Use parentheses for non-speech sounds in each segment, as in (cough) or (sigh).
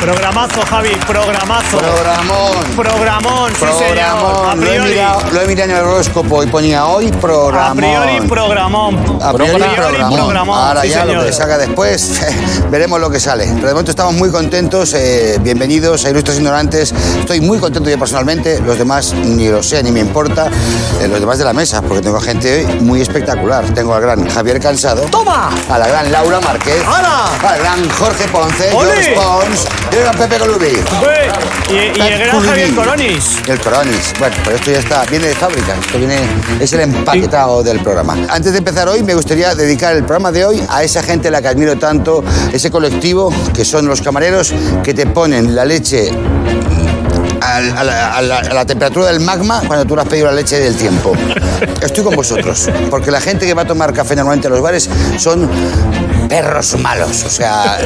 Programazo, Javi, programazo. Programón. Programón, sí, señor. A Programón. Lo he, priori. mirado, lo he mirado en el horóscopo y ponía hoy A programón. priori, programón. A priori, A priori, programón. programón, Ahora sí, ya lo señor. que salga después, (laughs) veremos lo que sale. De momento estamos muy contentos, eh, bienvenidos a Ilustres Ignorantes. Estoy muy contento yo personalmente, los demás ni lo sé, ni me importa. eh, los demás de la mesa, porque tengo gente hoy muy espectacular. Tengo al gran Javier Cansado. ¡Toma! A la gran Laura Márquez. ¡Hala! Al gran Jorge Ponce. ¡Ole! George Pons. Y al gran Pepe Colubi. Eh, Y, y el gran Colubi. Javier Coronis. El Coronis. Bueno, pero esto ya está, viene de fábrica. Esto viene, es el empaquetado del programa. Antes de empezar hoy, me gustaría dedicar el programa de hoy a esa gente a la que admiro tanto, ese colectivo que son los camareros que te ponen la leche al- a, la, a la- a la temperatura del magma cuando tú le has pedido la leche del tiempo. Estoy con vosotros, porque la gente que va a tomar café normalmente en los bares son perros malos. O sea,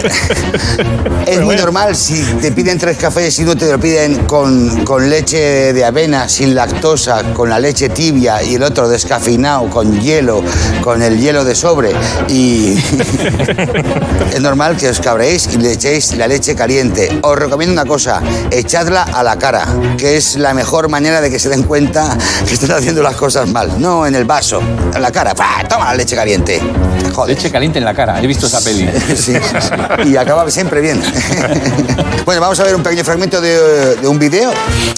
es muy normal si te piden tres cafés y no te lo piden con, con leche de avena, sin lactosa, con la leche tibia y el otro descafeinado, con hielo, con el hielo de sobre. Y (laughs) es normal que os cabréis y le echéis la leche caliente. Os recomiendo una cosa, echadla a la cara, que es la mejor manera de que se den cuenta que están haciendo las cosas mal. No en el vaso, en la cara. ¡Pah! Toma la leche caliente. Joder. Leche caliente en la cara, he visto esa peli. Sí, sí, sí. Y acaba siempre bien. (laughs) Bueno, vamos a ver un pequeño fragmento de, de un video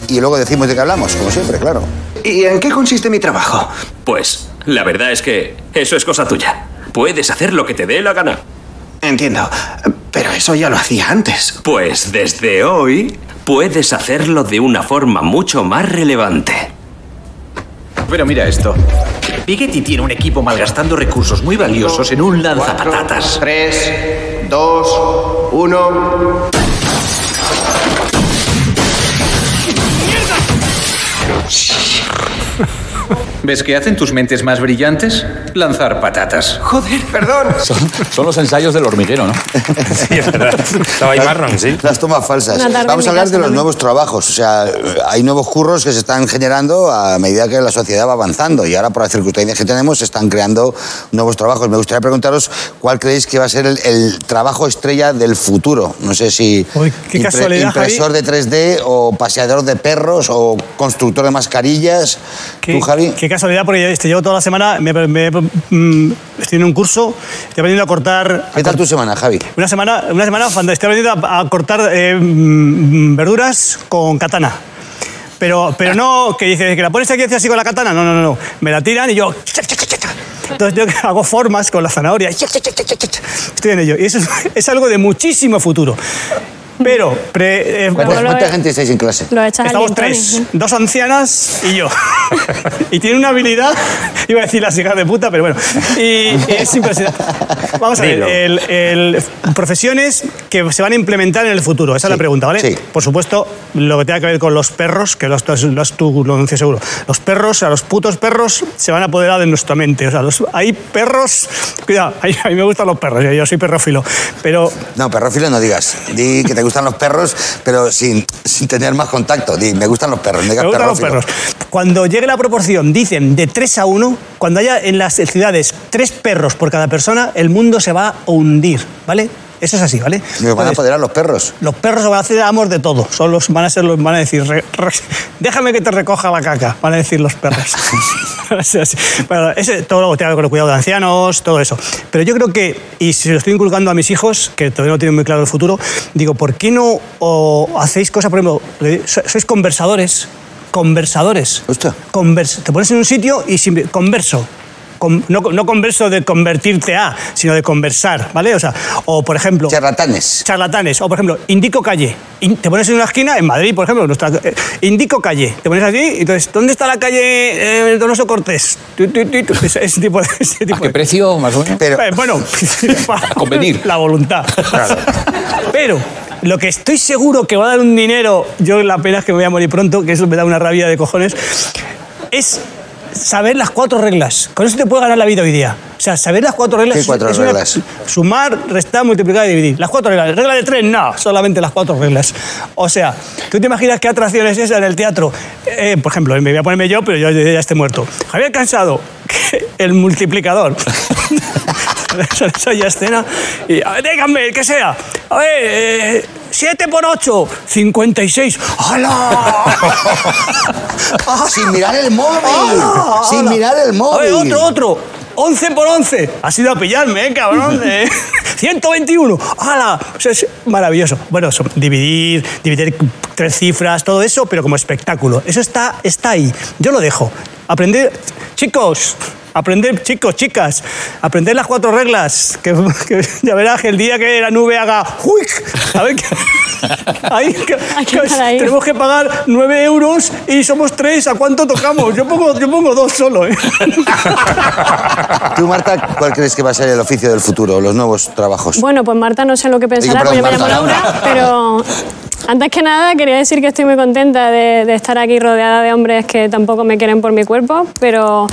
y luego decimos de qué hablamos, como siempre, claro. ¿Y en qué consiste mi trabajo? Pues la verdad es que eso es cosa tuya. Puedes hacer lo que te dé la gana. Entiendo, pero eso ya lo hacía antes. Pues desde hoy puedes hacerlo de una forma mucho más relevante. Pero mira esto. Piketty tiene un equipo malgastando recursos muy valiosos en un lanzapatatas. 3, 2, 1. ¿Ves qué hacen tus mentes más brillantes? Lanzar patatas. Joder, perdón. Son los ensayos del hormiguero, ¿no? Sí, es verdad. Estaba ahí Marron, sí. Las tomas falsas. Una tarde Vamos a en mi hablar casa de los también. nuevos trabajos. O sea, hay nuevos curros que se están generando a medida que la sociedad va avanzando. Y ahora, por las circunstancias que tenemos, se están creando nuevos trabajos. Me gustaría preguntaros cuál creéis que va a ser el, el trabajo estrella del futuro. No sé si Uy, qué casualidad, impresor de 3D o paseador de perros o constructor de mascarillas. Qué, ¿Tú, Javi? qué casualidad, porque yo este, llevo toda la semana, me- me- mm, estoy en un curso, estoy aprendiendo a cortar... ¿Qué tal tu semana, Javi? Una semana, una semana fantástica. Estoy aprendiendo a, a cortar eh, mm, verduras con katana. Pero, pero no que dices que la pones aquí y haces así con la katana. No, no, no, no. Me la tiran y yo. Entonces yo (laughs) hago formas con la zanahoria. Estoy en ello. Y eso es, (laughs) es algo de muchísimo futuro. Pero. pre- eh, ¿Cuánta, Bueno, lo cuánta he- gente estáis en clase? Lo echas Estamos al tres, dos ancianas y yo. Y tiene una habilidad, iba a decir las hijas de puta, pero bueno. Y es impresionante. Vamos a ver, Dilo. el- el- profesiones que se van a implementar en el futuro. Esa es la Sí, pregunta, ¿vale? sí. Por supuesto, lo que tenga que ver con los perros, que lo has, lo has tú lo anuncias seguro. Los perros, a los putos perros, se van a apoderar de nuestra mente. O sea, los- hay perros. Cuidado, (laughs) a mí- a mí me gustan los perros, yo- yo soy perrófilo. Pero No, perrófilo no digas. Di que te gustan los perros, pero sin, sin tener más contacto. Di, me gustan los perros, no digas Me gustan los perrófilo. perros. Cuando llegue la proporción, dicen de 3 a 1, cuando haya en las ciudades 3 perros por cada persona, el mundo se va a hundir, ¿vale? Eso es así, ¿vale? Me van a Entonces, apoderar los perros. los perros se van a hacer amos de todo. Son los, van a ser los, van a decir, "Re- re- déjame que te recoja la caca, van a decir los perros. (laughs) Van a ser así. bueno, ese, todo lo que tenga que ver con el cuidado de ancianos, todo eso. Pero yo creo que, y si lo estoy inculcando a mis hijos, que todavía no tienen muy claro el futuro, digo, ¿por qué no o hacéis cosas, por ejemplo, le- so- sois conversadores? Conversadores. Hostia. Convers- te pones en un sitio y simple- converso. Con- no, no converso de convertirte a, sino de conversar, ¿vale? O sea, o por ejemplo Charlatanes. charlatanes. O, por ejemplo, indico calle. In- te pones en una esquina, en Madrid, por ejemplo, nuestra- eh, indico calle. Te pones allí y entonces, ¿dónde está la calle eh, Donoso Cortés? Tu, tu, tu, tu. Ese, ese tipo de... (laughs) Ese ¿A tipo qué de- precio, más o menos? Pero, Eh, (laughs) bueno, para convenir. (laughs) La voluntad. Pero lo que estoy seguro que va a dar un dinero, yo la pena es que me voy a morir pronto, que eso me da una rabia de cojones, es saber las cuatro reglas. Con eso te puede ganar la vida hoy día. O sea, saber las cuatro reglas. ¿Qué es- cuatro es una- reglas? sumar, restar, multiplicar y dividir. Las cuatro reglas. Regla de tres, no, solamente las cuatro reglas. O sea, ¿tú te imaginas qué atracción es esa en el teatro? Eh, por ejemplo, me voy a ponerme yo, pero yo ya estoy muerto. Javier Cansado, (laughs) el multiplicador. (laughs) Esa- Esa ya escena. Y, a ver, díganme, el que sea. A ver, eh, 7 por 8, 56. ¡Hala! (laughs) Sin mirar el móvil. ¡Hala! sin ¡Hala! mirar el móvil. A ver, ah, otro, otro. 11 por 11. Has ido a pillarme, ¿eh, cabrón. Eh, 121. ¡Hala! O sea, es maravilloso. Bueno, eso, dividir, dividir tres cifras, todo eso, pero como espectáculo. Eso está, está ahí. Yo lo dejo. Aprender, chicos. Aprender, chicos, chicas, aprender las cuatro reglas. Que, (laughs) que ya verás que el día que la nube haga ¡Uic! A ver, que, ahí, que- Hay que que estar ahí. tenemos que pagar 9 euros y somos tres. ¿A cuánto tocamos? Yo pongo, yo pongo dos solo. ¿eh? Tú, Marta, ¿cuál crees que va a ser el oficio del futuro, los nuevos trabajos? Bueno, pues Marta no sé lo que pensará, Digo, porque me perdón, llamo Laura, Marta, pero antes que nada quería decir que estoy muy contenta de, de estar aquí rodeada de hombres que tampoco me quieren por mi cuerpo, (laughs) pero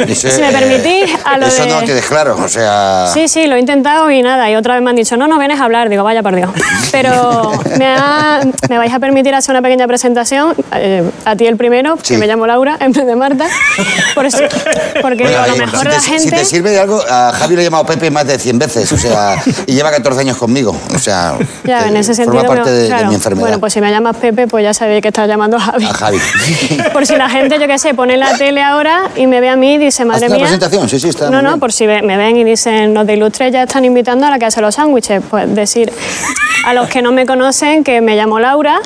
Ese- si me permitís, a lo eh, Eso de... no lo tienes claro, o sea... Sí, sí, lo he intentado y nada. Y otra vez me han dicho, no, no vienes a hablar. Digo, vaya por Dios. Pero me, ha- me vais a permitir hacer una pequeña presentación. eh, a ti el primero, Sí. que me llamo Laura en vez de Marta. Por eso- porque Bueno, digo, a lo oye, mejor si, te, la si te gente... sirve de algo, a Javi lo he llamado Pepe más de 100 veces, o sea, y lleva 14 años conmigo, o sea, Ya, te- en ese sentido... Eh, forma parte creo- de, de claro. mi enfermedad. Bueno, pues si me llamas Pepe, pues ya sabéis que estás llamando a Javi. (laughs) A Javi. Por si la gente, yo qué sé, pone la tele ahora y me ve a mí y dice, madre Haz una mía... presentación, sí, sí, está No, muy no, bien. por si ve- me ven y dicen, los de Ilustre ya están invitando a la que hace los sándwiches. Pues decir a los que no me conocen que me llamo Laura,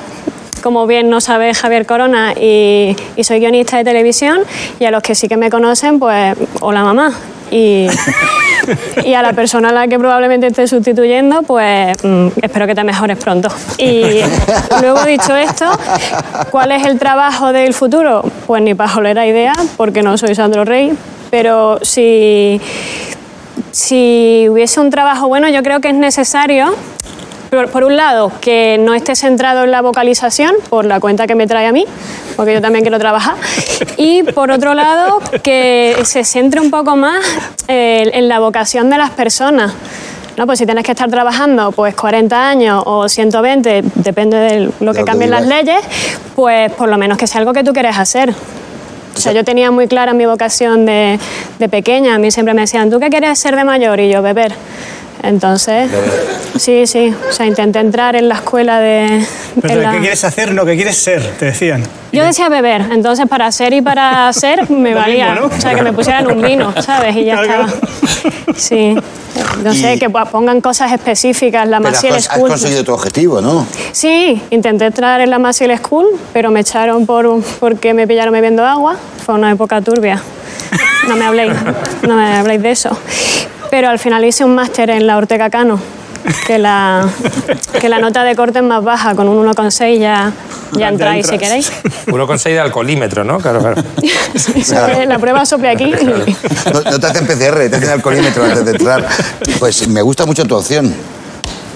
como bien no sabe Javier Corona, y, y soy guionista de televisión, y a los que sí que me conocen, pues hola mamá. Y, y a la persona a la que probablemente esté sustituyendo, pues mm, espero que te mejores pronto. Y luego dicho esto, ¿cuál es el trabajo del futuro? Pues ni pajolera idea, porque no soy Sandro Rey, pero si, si hubiese un trabajo bueno, yo creo que es necesario por, por un lado, que no esté centrado en la vocalización, por la cuenta que me trae a mí, porque yo también quiero trabajar. Y por otro lado, que se centre un poco más eh, en la vocación de las personas. No, pues si tienes que estar trabajando pues 40 años o 120, depende de lo que que cambien las digas. leyes, pues por lo menos que sea algo que tú quieres hacer. O sea, yo tenía muy clara mi vocación de, de pequeña. A mí siempre me decían, ¿tú qué quieres ser de mayor? Y yo, beber. Entonces, sí, sí. O sea, intenté entrar en la escuela de... en Pero la- ¿qué quieres hacer? No, ¿qué quieres ser? Te decían. Yo decía beber. Entonces, para ser y (laughs) para hacer me Lo valía. mismo, ¿no? O sea, que me pusieran un vino, ¿sabes? Y ya Claro, estaba. Sí. No sé, Y- que pongan cosas específicas. La Pero has, Maciel cons- has School. conseguido tu objetivo, ¿no? Sí, intenté entrar en la Massive School, pero me echaron por porque me pillaron bebiendo agua. Fue una época turbia. No me habléis, no me habléis de eso. Pero al final hice un máster en la Ortega Cano, que la, que la nota de corte es más baja, con un 1,6 ya, ya entráis si entras. queréis. Uno con seis de alcoholímetro, ¿no? Claro, claro. Sobre la prueba sople aquí. y- No, no te hacen PCR, te hacen alcoholímetro antes de entrar. Pues me gusta mucho tu opción,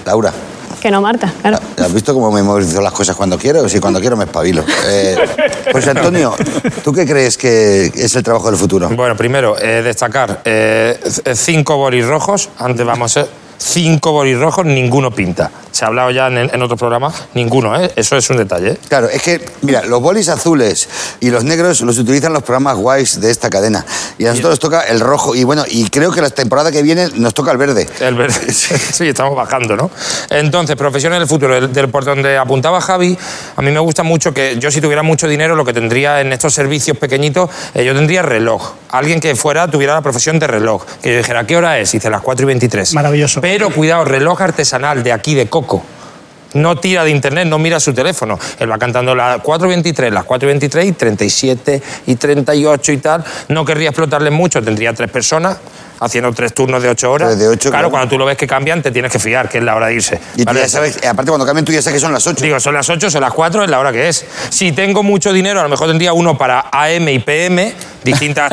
Laura. Que no, Marta, claro. ¿Has visto cómo me memorizo las cosas cuando quiero? Si cuando quiero me espabilo. Eh, pues Antonio, ¿tú qué crees que es el trabajo del futuro? Bueno, primero, eh, destacar eh, c- cinco bolis rojos. Antes vamos a ser cinco bolis rojos, ninguno pinta. Se ha hablado ya en, en otros programas, ninguno, ¿eh? Eso es un detalle. ¿eh? Claro, es que, mira, los bolis azules y los negros los utilizan los programas guays de esta cadena. Y a nosotros nos toca el rojo. Y bueno, y creo que la temporada que viene nos toca el verde. (laughs) El verde. Sí, estamos bajando, ¿no? Entonces, profesiones del futuro, el- del por donde apuntaba Javi, a mí me gusta mucho que yo si tuviera mucho dinero, lo que tendría en estos servicios pequeñitos, eh, yo tendría reloj. Alguien que fuera tuviera la profesión de reloj. Que yo dijera, ¿qué hora es? Y dice, las 4 y 23. Maravilloso. Pero cuidado, reloj artesanal de aquí, de Coco. No tira de internet, no mira su teléfono. Él va cantando las 4.23, las 4.23 y 37 y 38 y tal. No querría explotarle mucho, tendría tres personas haciendo tres turnos de ocho horas. Tres de ocho, claro. claro, cuando tú lo ves que cambian, te tienes que fiar que es la hora de irse. Y tú ¿Vale? ya sabes, aparte cuando cambian tú ya sabes que son las 8. Digo, son las 8, son las 4, es la hora que es. Si tengo mucho dinero, a lo mejor tendría uno para AM y PM, distintas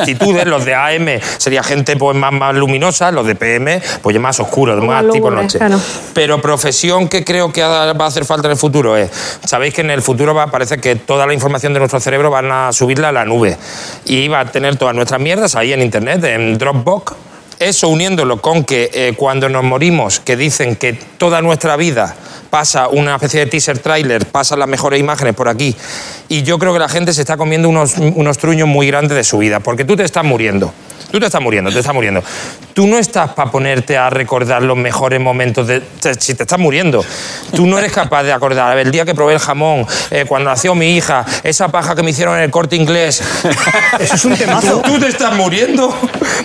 (laughs) actitudes. Los de AM sería gente pues, más, más luminosa, los de PM, pues ya más oscuros, más, Más tipo lúgubres, noche. claro. Pero profesión que creo que ha- va a hacer falta en el futuro es, sabéis que en el futuro va, parece que toda la información de nuestro cerebro van a subirla a la nube y va a tener todas nuestras mierdas ahí en internet, en Dropbox. Eso uniéndolo con que eh, cuando nos morimos, que dicen que toda nuestra vida pasa una especie de teaser trailer, pasan las mejores imágenes por aquí. Y yo creo que la gente se está comiendo unos, unos truños muy grandes de su vida, porque tú te estás muriendo. Tú te estás muriendo, te estás muriendo. Tú no estás para ponerte a recordar los mejores momentos de. te- si te estás muriendo. Tú no eres capaz de acordar. A ver, el día que probé el jamón, eh, cuando nació mi hija, esa paja que me hicieron en el corte inglés. Eso es un temazo. (laughs) Tú, tú te estás muriendo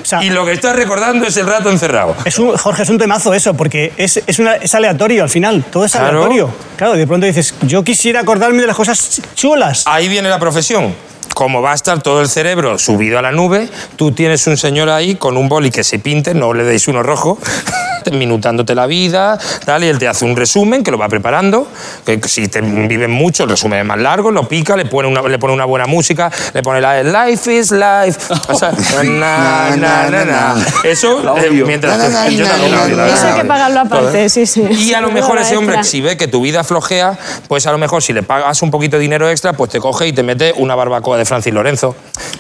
sea- y lo que estás recordando es el rato encerrado. Es un, Jorge, es un temazo eso, porque es, es, una- es aleatorio al final, todo es Claro. aleatorio. Claro, de pronto dices, yo quisiera acordarme de las cosas chulas. Ahí viene la profesión. Como va a estar todo el cerebro subido a la nube, tú tienes un señor ahí con un boli que se pinte, no le deis uno rojo, (laughs) minutándote la vida, tal, y él te hace un resumen que lo va preparando, que si te viven mucho, el resumen es más largo, lo pica, le pone una, le pone una buena música, le pone la de Life is Life, (laughs) o sea, na, na, na, na. Eso, eh, mientras... Na, na, na, yo también na, la na, odio, na, la Eso hay odio. que pagarlo ¿eh? aparte, sí, sí. Y a lo mejor Hora ese hombre, extra. si ve que tu vida flojea, pues a lo mejor si le pagas un poquito de dinero extra, pues te coge y te mete una barbacoa de Francis Lorenzo,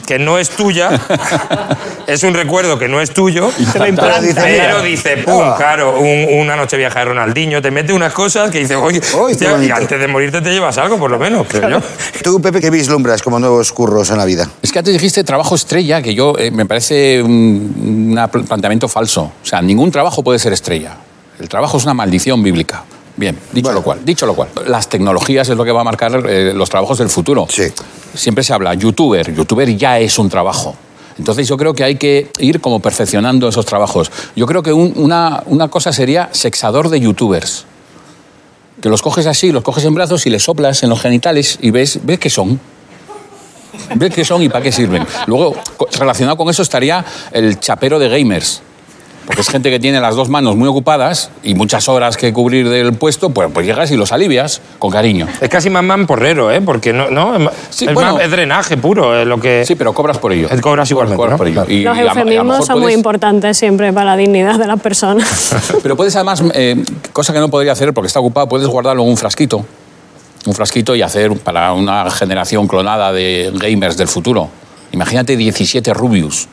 que no es tuya, (laughs) es un recuerdo que no es tuyo. Te la Pero implanta. dice, mira, Pero dice, Ah. pum, claro, un- una noche viaja de Ronaldinho, te mete unas cosas que dices, oye, Uy, hostia, qué y bonito. antes de morirte te llevas algo, por lo menos, creo (laughs) yo. Tú, Pepe, ¿qué vislumbras como nuevos curros en la vida? Es que antes dijiste trabajo estrella, que yo eh, me parece un, un pl- planteamiento falso. O sea, ningún trabajo puede ser estrella. El trabajo es una maldición bíblica. Bien, dicho Bueno. lo cual, dicho lo cual. Las tecnologías es lo que va a marcar eh, los trabajos del futuro. Sí. Siempre se habla youtuber, youtuber ya es un trabajo. Entonces yo creo que hay que ir como perfeccionando esos trabajos. Yo creo que un- una, una cosa sería sexador de youtubers. Que los coges así, los coges en brazos y les soplas en los genitales y ves, ves qué son. ¿Ves qué son y para qué sirven? Luego, co- relacionado con eso estaría el chapero de gamers. Porque es gente que tiene las dos manos muy ocupadas y muchas horas que cubrir del puesto, pues, pues llegas y los alivias con cariño. Es casi más man porrero, ¿eh? Porque no, no, es ma- Sí, es, bueno. más- es drenaje puro, es lo que... Sí, pero cobras por ello. Eh, cobras igualmente, Cobras ¿no? por ello. Y Los a- a lo eufemismos mejor son muy puedes- importantes siempre para la dignidad de las personas. Pero puedes además, eh, cosa que no podría hacer porque está ocupado, puedes guardarlo en un frasquito. Un frasquito y hacer para una generación clonada de gamers del futuro. Imagínate 17 Rubius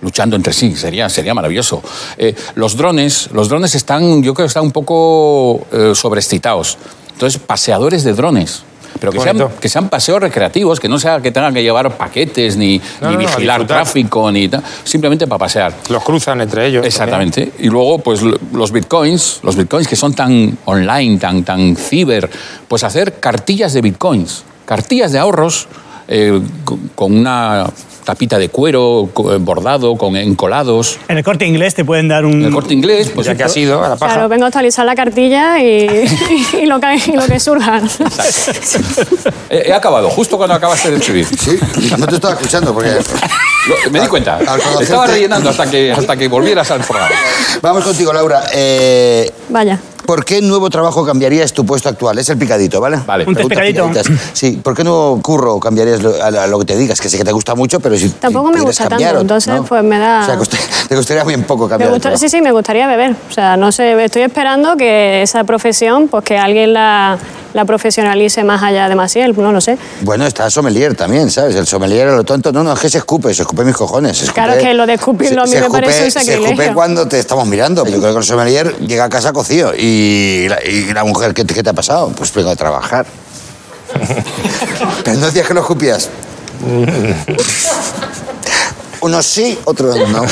luchando entre sí, sería, sería maravilloso. Eh, los drones, los drones están, yo creo que están un poco eh, sobreexcitados. Entonces, paseadores de drones. Pero que sean, Bonito. que sean paseos recreativos, que no sea que tengan que llevar paquetes ni, No, no, no, ni a vigilar disfrutar. tráfico, ni ta- simplemente para pasear. Los cruzan entre ellos. Exactamente. Y luego, pues lo- los bitcoins, los bitcoins que son tan online, tan, tan ciber, pues hacer cartillas de bitcoins, cartillas de ahorros eh, co- con una tapita de cuero co- eh, bordado, con encolados. En el corte inglés te pueden dar un. En el corte inglés, Pues pues ya que ha sido, a la paja. Claro, vengo a actualizar la (laughs) cartilla y, y lo, que, y lo que surja. he, he acabado, justo cuando acabaste de escribir. Sí, no te estaba escuchando porque... Lo- me di cuenta. Al conocerte- Estaba rellenando hasta que, hasta que volvieras al programa. Vamos contigo, Laura. Eh, Vaya. ¿Por qué nuevo trabajo cambiarías tu puesto actual? Es el picadito, ¿vale? Vale. Un test Preguntas picadito. picaditas. Sí, ¿por qué nuevo curro cambiarías lo- a, a lo que te digas? Que sé que te gusta mucho, pero si Tampoco me pudieras gusta cambiar tanto, o- entonces, ¿no? pues, me da- O sea, costa- te gustaría bien poco Me cambiar de gusta- trabajo. sí, sí, me gustaría beber. O sea, no sé, estoy esperando que esa profesión, pues que alguien la, la profesionalice más allá de Maciel, no lo sé. Bueno, está sommelier también, ¿sabes? El sommelier a lo tonto. No, no, es que se escupe, se escupe mis cojones. se escupe- Claro que lo de escupirlo a mí se- se me parece un escupe- Se sacrilegio. escupe cuando te estamos mirando. Yo creo que el sommelier llega a casa cocido. Y la, y la mujer, ¿qué te, qué te ha pasado? Pues vengo a (laughs) trabajar. Pero no decías que lo escupías. Unos sí, otros no.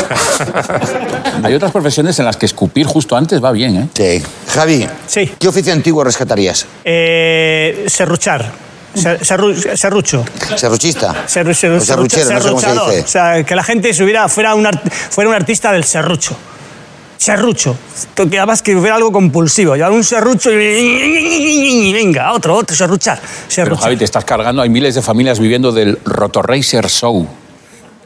Hay otras profesiones en las que escupir justo antes va bien, ¿eh? Sí. Javi, Sí. ¿qué oficio antiguo rescatarías? Eh, serruchar. Ser- serru- serrucho. ¿Serruchista? Serru- O serru- serruchero, no sé cómo se serruchador. dice. O sea, que la gente subiera, fuera, un art- fuera un artista del serrucho. Serrucho. Tú Que además que hubiera algo compulsivo. Llevar un serrucho y venga, otro, otro, serruchar. Pero serruchar. Javi, te estás cargando. Hay miles de familias viviendo del Rotoracer Show,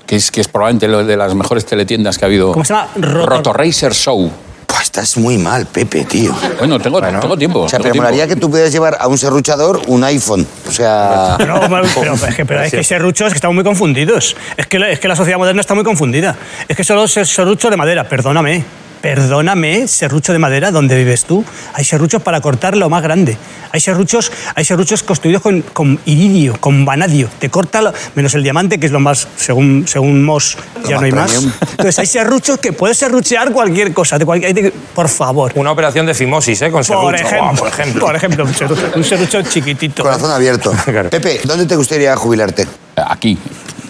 que es, que es probablemente lo de las mejores teletiendas que ha habido. ¿Cómo se llama? Roto- Rotoracer Show. Pues estás muy mal, Pepe, tío. Bueno, tengo, tengo tiempo. O sea, tengo pero tiempo. molaría que tú pudieras llevar a un serruchador un iPhone. O sea. No, (laughs) pero, pero es que, pero es que serruchos es que estamos muy confundidos. Es que, la- es que la sociedad moderna está muy confundida. Es que solo es el serrucho de madera, perdóname. Perdóname, serrucho de madera, donde vives tú. Hay serruchos para cortar lo más grande. Hay serruchos, hay serruchos construidos con, con iridio, con vanadio. Te corta, lo- menos el diamante, que es lo más, según, según Moss, ya más no hay premium. más. Entonces, hay serruchos que puedes serruchear cualquier cosa. De cualquier, de- por favor. Una operación de fimosis, ¿eh? Con Por serrucho. ejemplo, Buah, por ejemplo. por ejemplo, un serrucho, un serrucho chiquitito. (laughs) Corazón abierto. Claro. Pepe, ¿dónde te gustaría jubilarte? Aquí,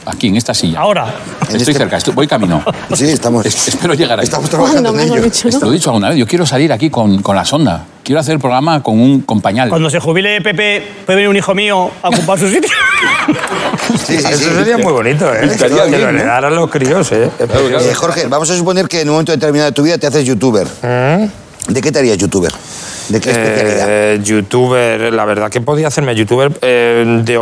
aquí, en esta silla. Ahora. En Estoy este- cerca, estoy- voy camino. Sí, estamos. Es- espero llegar ahí. Estamos trabajando ¿Cuándo, en mejor ello. dicho? Te lo he dicho alguna vez, yo quiero salir aquí con, con la sonda. Quiero hacer el programa con un con pañal. Cuando se jubile Pepe, puede venir un hijo mío a ocupar su (laughs) sitio. Sí, sí, Eso sí. sería muy bonito, ¿eh? Que Estaría bien, lo ¿no? heredaran los críos, ¿eh? Eh, Jorge, vamos a suponer que en un momento determinado de tu vida te haces youtuber. ¿Mm? ¿De qué te harías youtuber? ¿De qué especialidad? Eh, youtuber, la verdad que podía hacerme youtuber eh, de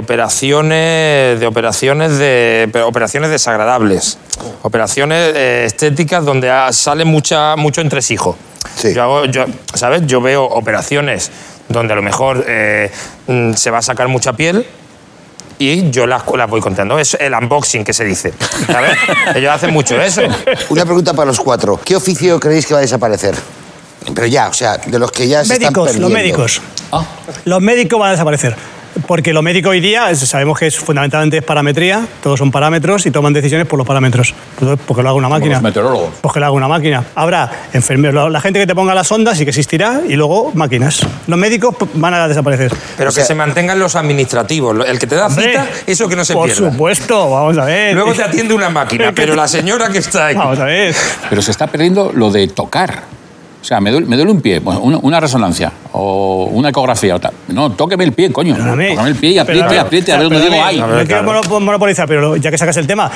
operaciones, de operaciones de pero operaciones desagradables, operaciones eh, estéticas donde ah, sale mucha mucho entresijo. Sí. Yo hago, yo, sabes, yo veo operaciones donde a lo mejor eh, mm, se va a sacar mucha piel. Y yo las, las voy contando. Es el unboxing que se dice. ¿sabes? (laughs) Ellos hacen mucho eso. Una pregunta para los cuatro. ¿Qué oficio creéis que va a desaparecer? Pero ya, o sea, de los que ya se médicos, están los perdiendo. médicos. Ah. Los médicos van a desaparecer. Porque lo médico hoy día, es- sabemos que es fundamentalmente es parametría, todos son parámetros y toman decisiones por los parámetros. Entonces, Porque lo haga una máquina. los meteorólogos. Porque lo haga una máquina. Habrá enfermeros, la- la gente que te ponga las ondas sí que existirá y luego máquinas. Los médicos p- van a desaparecer. Pero que Pues se mantengan los administrativos. lo- El que te da cita, Hombre, eso que no se Por pierda. supuesto, vamos a ver. Luego te atiende (laughs) una máquina, pero la señora que está ahí. Vamos a ver. Pero se está perdiendo lo de tocar. O sea, me duele, me duele un pie, bueno, una, una resonancia o una ecografía o tal. No, tóqueme el pie, coño. Perdóname. Tócame el pie y apriete, Perdóname. apriete, a O sea, ver dónde digo, perdóname, ay. No ver, quiero claro. mono- monopolizar, pero ya que sacas el tema,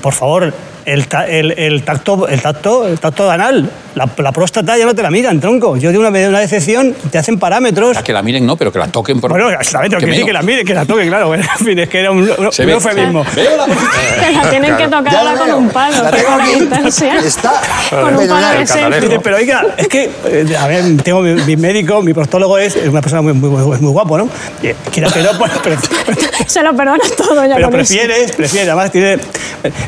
por favor, el, ta- el, el tacto, el tacto, el tacto anal, la, la próstata ya no te la miran, tronco. Yo de una, me dio una decepción, te hacen parámetros. Ah, Que la miren, no, pero que la toquen por. Bueno, exactamente, que, sí, menos. que la miren, que la toquen, claro. Bueno, (laughs) en fin, es que era un, un, Se un ve. eufemismo. Veo la- Te la tienen (laughs) que tocar Ya ahora la con veo. un palo. La qué tengo aquí. importancia. Está. Con un fenomenal. palo de selfie. Dice, pero oiga, es que, eh, a ver, tengo mi, mi médico, mi prostólogo es una persona muy, muy, muy- muy guapo, ¿no? Y, Quiera que no, (laughs) pues, pero- (laughs) Se lo perdonas todo ya Pero con eso. prefieres, prefieres, además tiene.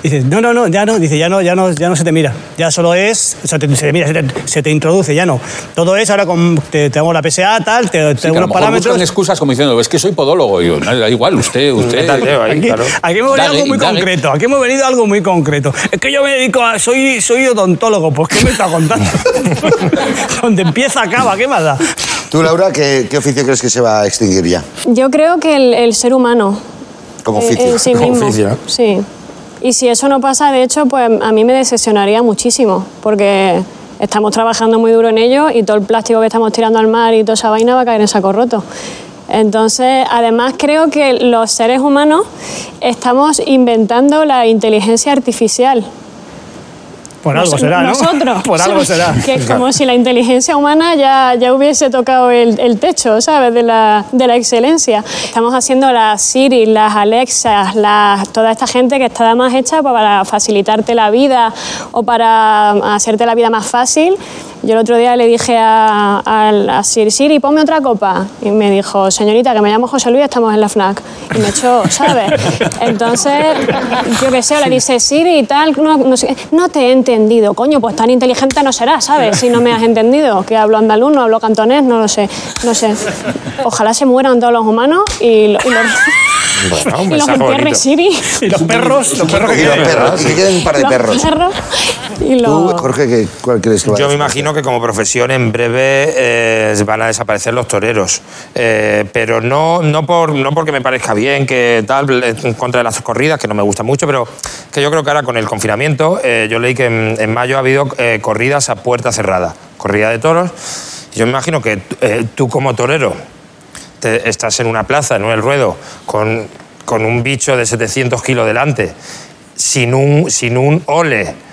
Dices, no, no, no, ya no, dice, ya no, ya no, ya no se te mira. Ya solo es. o sea, te- se te mira, se te, se te introduce, ya no. Todo es ahora con. Te, te hago la PSA, tal, te, te Sí, hago que a lo unos mejor buscan parámetros. excusas como diciendo, es que soy podólogo. Y yo, "No, da igual, Mm, usted, usted. Métateo ahí, Aquí, claro. aquí hemos venido a Dale, algo muy dale. concreto. Aquí hemos venido a algo muy concreto. Es que yo me dedico a. Soy, soy odontólogo, pues ¿qué me está contando? (laughs) Donde empieza, acaba, ¿qué más da? Tú, Laura, ¿qué, qué oficio crees que se va a extinguir ya? Yo creo que el, el ser humano Como eh, oficio. en sí Como mismo. oficio, ¿no? Sí. Y si eso no pasa, de hecho, pues a mí me decepcionaría muchísimo, porque estamos trabajando muy duro en ello y todo el plástico que estamos tirando al mar y toda esa vaina va a caer en saco roto. Entonces, además creo que los seres humanos estamos inventando la inteligencia artificial. Por algo Nos- será, ¿no? Nosotros. (laughs) Por algo O sea, será. (laughs) Que es como si la inteligencia humana ya, ya hubiese tocado el, el techo, ¿sabes? De la, de la excelencia. Estamos haciendo las Siri, las Alexas, las, toda esta gente que está nada más hecha pues, para facilitarte la vida o para hacerte la vida más fácil. Yo el otro día le dije a, a, a Siri, Siri, ponme otra copa. Y me dijo, señorita, que me llamo José Luis, estamos en la FNAC. Y me echó, ¿sabes? Entonces, yo qué sé, le dice Siri y tal, no, no sé qué. No te he entendido, coño, pues tan inteligente no serás, ¿sabes? Si no me has entendido, que hablo andaluz, no hablo cantonés, no lo sé, no sé. Ojalá se mueran todos los humanos y, lo- y los- Bueno, un y los mensaje entierre bonito. Siri. Y los perros, los perros que Y los quieren. perros, que queden un par de los perros. perros Tú, y los... Jorge, ¿qué- ¿cuál crees que va a Yo me desaparecer? imagino que como profesión en breve eh, van a desaparecer los toreros. Eh, pero no, no, por, no porque me parezca bien que tal, en contra de las corridas, que no me gusta mucho, pero que yo creo que ahora con el confinamiento, eh, yo leí que en, en mayo ha habido eh, corridas a puerta cerrada, corrida de toros. Y yo me imagino que eh, tú como torero te- estás en una plaza, en el ruedo, con, con un bicho de 700 kilos delante, sin un, sin un ole,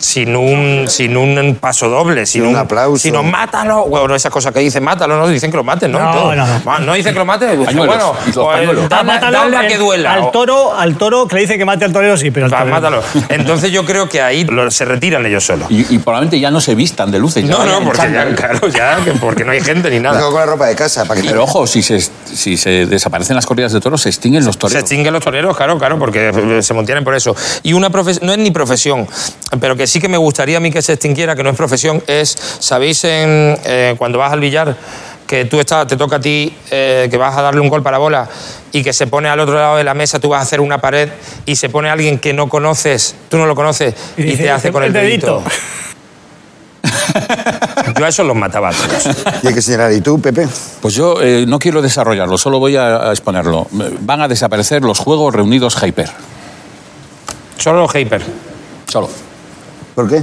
sin un, sin un paso doble, sin, un aplauso. Sino mátalo, bueno, esas cosas que dicen, mátalo, no dicen que lo maten, ¿no? No, Todo. no, no. Ma- dicen que lo maten, pues, Pañuelos, bueno, los o el- pañuelos. Ah, dale, mátalo, dale a que el- duela. Al o- toro, al toro que le dice que mate al torero, sí, pero al va, torero. mátalo. Entonces yo creo que ahí lo- se retiran ellos solos. Y, y probablemente ya no se vistan de luces. ya No, vayan no, en porque ya, chándal. claro, ya, que- porque no hay gente ni Me nada. quedo con la ropa de casa. Para que Pero ojo, si se, si se desaparecen las corridas de toros, se extinguen los Se toreros. extinguen los toreros, claro, claro, porque eh, se mantienen por eso. Y una profes- no es ni profesión, pero que sí que me gustaría a mí que se extinguiera, que no es profesión, es, ¿sabéis en, eh, cuando vas al billar que tú estás, te toca a ti eh, que vas a darle un gol para bola y que se pone al otro lado de la mesa, tú vas a hacer una pared y se pone alguien que no conoces, tú no lo conoces y, dice, te hace con el dedito? Yo a esos los mataba a todos. Y hay que señalar. ¿Y tú, Pepe? Pues yo eh, no quiero desarrollarlo, solo voy a, a exponerlo. Van a desaparecer los juegos reunidos Hyper. Solo los hyper. (laughs) Solo. ¿Por qué?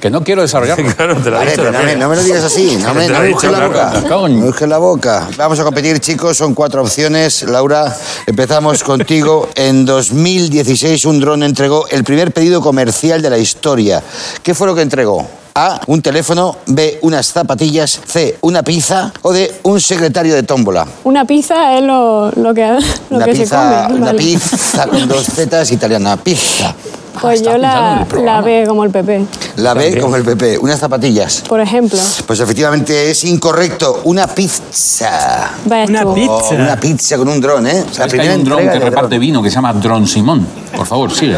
Que no (laughs) quiero desarrollarlo. claro, te lo he Vale, dicho. pero no, me, también. no me lo digas así, no me, Te lo no he me dicho, busques la claro. boca. No Coño. me busques la boca. Vamos a competir, chicos, son cuatro opciones. Laura, empezamos contigo. En 2016 un dron entregó el primer pedido comercial de la historia. ¿Qué fue lo que entregó? A, un teléfono, B, unas zapatillas, C, una pizza o D, un secretario de tómbola. Una pizza es lo, lo que, lo Una que pizza, se come. una vale. pizza con dos zetas italiana, pizza. Pues está yo apuntando Ah, en el la, programa. la B como el PP, La B como el PP, unas zapatillas. por ejemplo. Pues efectivamente es incorrecto, una pizza. Vaya Una estuvo. pizza. Oh, una pizza con un dron, ¿eh? O sea, Es que hay un dron entrega que de reparte dron. vino que se llama Dron Simón. Por favor, sigue.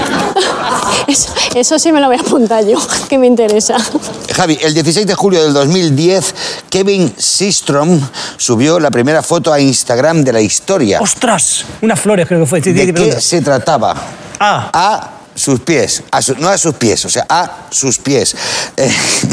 Eso, eso sí me lo voy a apuntar yo, que me interesa. Javi, el 16 de julio del 2010, Kevin Systrom subió la primera foto a Instagram de la historia. ¡Ostras! Unas flores creo que fue. Sí, sí, ¿De sí, qué pregunta. se trataba? Ah. A sus pies, A su- no a sus pies, o sea, a sus pies. Eh, (laughs)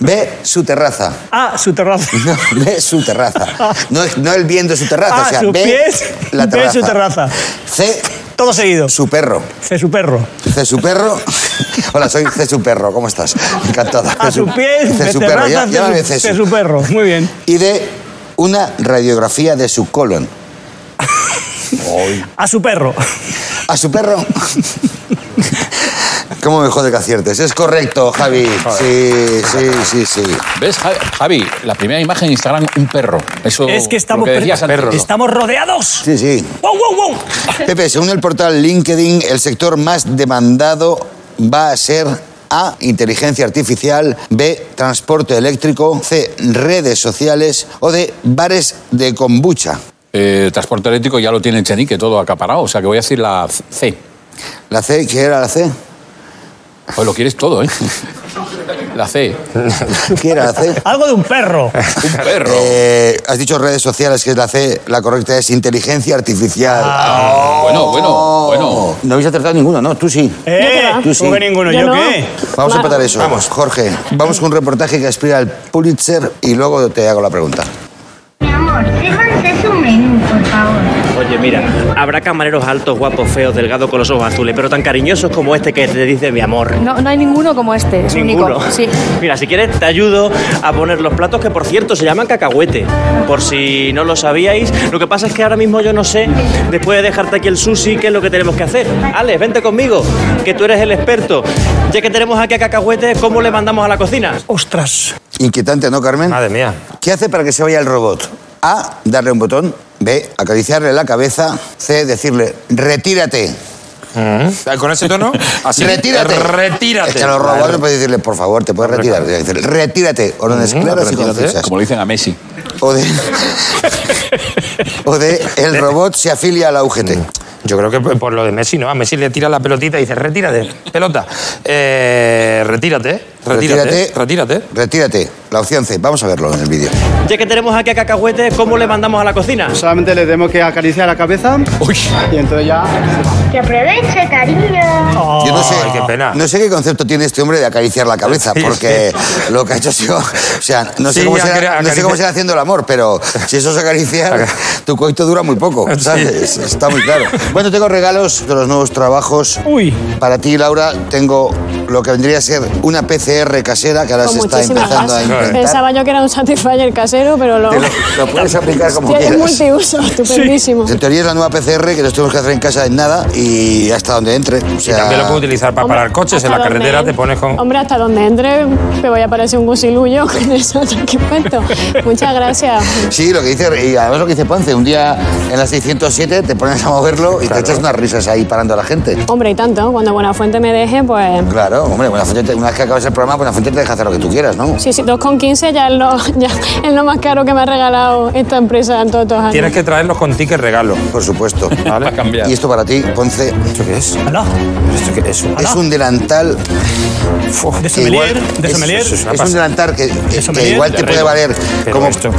B, su terraza. (laughs) Ah, su terraza. No, ve su terraza. No, es- no él viendo su terraza, Ah, o sea, sus ve pies, la ve terraza. su terraza. C, Todo seguido. su perro. C, su perro. C, su perro. (laughs) Hola, soy C, su perro. ¿Cómo estás? Encantada. A su pie, C, de su perro. Ya- terraza, llámame C, Cesu. su- C, su perro. Muy bien. Y de una radiografía de su colon. A su perro. ¿A su perro? (laughs) ¿Cómo me jode que aciertes? Es correcto, Javi. Sí, sí, sí, sí. ¿Ves, Ja- Javi? La primera imagen en Instagram, un perro. Eso Es que estamos, lo que decías antes. perro. estamos rodeados. Sí, sí. ¡Wow, wow, wow! Pepe, según el portal LinkedIn, el sector más demandado va a ser A, inteligencia artificial, B, transporte eléctrico, C, redes sociales o D, bares de kombucha. Eh, transporte eléctrico ya lo tiene el Chenique todo acaparado. O sea que voy a decir la C. La C, ¿qué era la C? Pues lo quieres todo, ¿eh? (laughs) La C. ¿Qué era (laughs) la C? Algo de un (laughs) perro. Un perro. Eh, has dicho redes sociales, que es la C, la correcta es inteligencia artificial. Ah. Bueno, Ah. bueno, bueno. No habéis acertado ninguno, ¿no? Tú sí. (laughs) ¡Eh! Yo qué va. ¿Tú Tú sí. que ninguno? Yo ¿Yo no. qué? Vamos a Claro. empatar eso. Vamos. Jorge, vamos con un reportaje que aspira al Pulitzer y luego te hago la pregunta. Mi amor, déjate su menú, por favor. Oye, mira, habrá camareros altos, guapos, feos, delgados con los ojos azules, pero tan cariñosos como este que te dice mi amor. No, no hay ninguno como este, es Ninguno. único. Sí. (laughs) Mira, si quieres te ayudo a poner los platos que por cierto se llaman cacahuete. Por si no lo sabíais, lo que pasa es que ahora mismo yo no sé, después de dejarte aquí el sushi, qué es lo que tenemos que hacer. Alex, vente conmigo, que tú eres el experto. Ya que tenemos aquí a cacahuete, ¿cómo le mandamos a la cocina? ¡Ostras! Inquietante, ¿no, Carmen? Madre mía. ¿Qué hace para que se vaya el robot? A. Darle un botón. B. Acariciarle la cabeza. C. Decirle, retírate. Ah, Con ese tono, así. retírate. Retírate. Es que a los robots no puedes decirle, por favor, te puedes retirar. Tienes que decirle, retírate. Órdenes claras y retírate. concisas. Como le dicen a Messi. O de, o de, el robot se afilia a la UGT. Yo creo que por lo de Messi, ¿no? A Messi le tira la pelotita y dice, retírate, pelota. Eh, retírate, retírate, retírate. Retírate. La opción C. Vamos a verlo en el vídeo. Ya que tenemos aquí a cacahuete, ¿cómo le mandamos a la cocina? Solamente le tenemos que acariciar la cabeza Uy. y entonces ya... Que aproveche, cariño. Yo no sé, Ay, qué pena. no sé qué concepto tiene este hombre de acariciar la cabeza, Sí, porque lo que ha hecho ha sido. O sea, no sé, Sí, cómo ya será, quería no sé cómo acariciar. será haciendo el amor, pero si eso es acariciar, tu coito dura muy poco, Sí. ¿sabes? Está muy claro. Bueno, tengo regalos de los nuevos trabajos. Uy. Para ti, Laura, tengo lo que vendría a ser una PCR casera que ahora Con se está Oh, muchísimas empezando a gracias. inventar. Pensaba yo que era un Satisfyer casero, pero lo... Te Lo, lo puedes aplicar como (laughs) Tiene quieras. multiuso, estupendísimo. En teoría es la nueva PCR que nos tenemos que hacer en casa en nada y hasta donde entre. O Y sea, también lo puedes utilizar para Hombre, parar coches en hasta la carretera, donde- te pones con... Hombre, hasta donde entre me voy a parecer un gusilullo (laughs) con eso, qué cuento. Muchas gracias. Sí, lo que dice, y además lo que dice Ponce, un día en la 607 te pones a moverlo y te echas unas risas ahí parando a la gente. Hombre, y tanto, cuando Buenafuente me deje, pues... Claro, hombre, Buenafuente, te- una vez que acabas el programa, Buenafuente te deja hacer lo que tú quieras, ¿no? Sí, sí, 2,15 ya es, lo, ya es lo más caro que me ha regalado esta empresa en todos estos años. Tienes que traerlos con ticket regalo. Por supuesto. Va a cambiar. Y esto para ti, Ponce, ¿Esto qué es? ¡Hala! ¿Esto qué es? es un delantal. Fuf, De que sommelier, igual- de es- sommelier. Es, es un pasada. delantal que, que sommelier. igual te Pero puede valer pero como esto.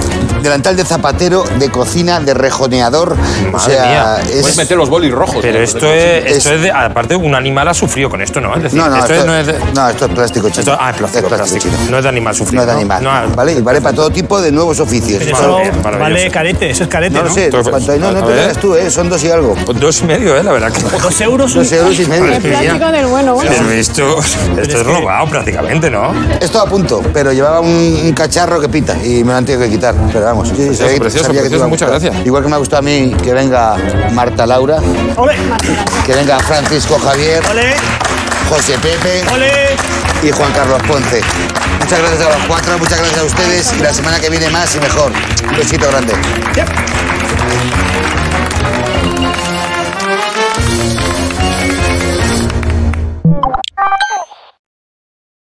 delantal de zapatero, de cocina, de rejoneador. o Madre sea, mía. es. Puedes meter los bolis rojos. ¿eh? Pero ¿no? esto es, esto es de- aparte, un animal ha sufrido con esto, ¿no? Es decir, No, no, esto, esto no es de- No, esto es plástico chino. Esto- ah, es plástico, plástico. chino. No es de animal sufrido. No es de animal. ¿Vale? Y vale para todo tipo de nuevos oficios. Pero eso vale carete, eso es carete, No ¿no? lo sé, Entonces, cuánto hay, no, a- no a te ver. creas tú, ¿eh? son dos y algo. Pues dos y medio, ¿eh? La verdad que. Dos euros. Dos euros y medio. El plástico del bueno, bueno. Pero esto, esto es robado prácticamente, ¿no? Esto a punto, pero llevaba un, un cacharro que pita y me lo han tenido que quitar. Pero vamos, sí, sabía que- precioso, sabía que te iba precioso, a muchas gustar. gracias. Igual que me ha gustado a mí que venga Marta Laura, ¡Ole! que venga Francisco Javier, ¡Ole! José Pepe ¡Ole! y Juan Carlos Ponce. Muchas gracias a los cuatro, muchas gracias a ustedes y la semana que viene más y mejor. Un besito grande.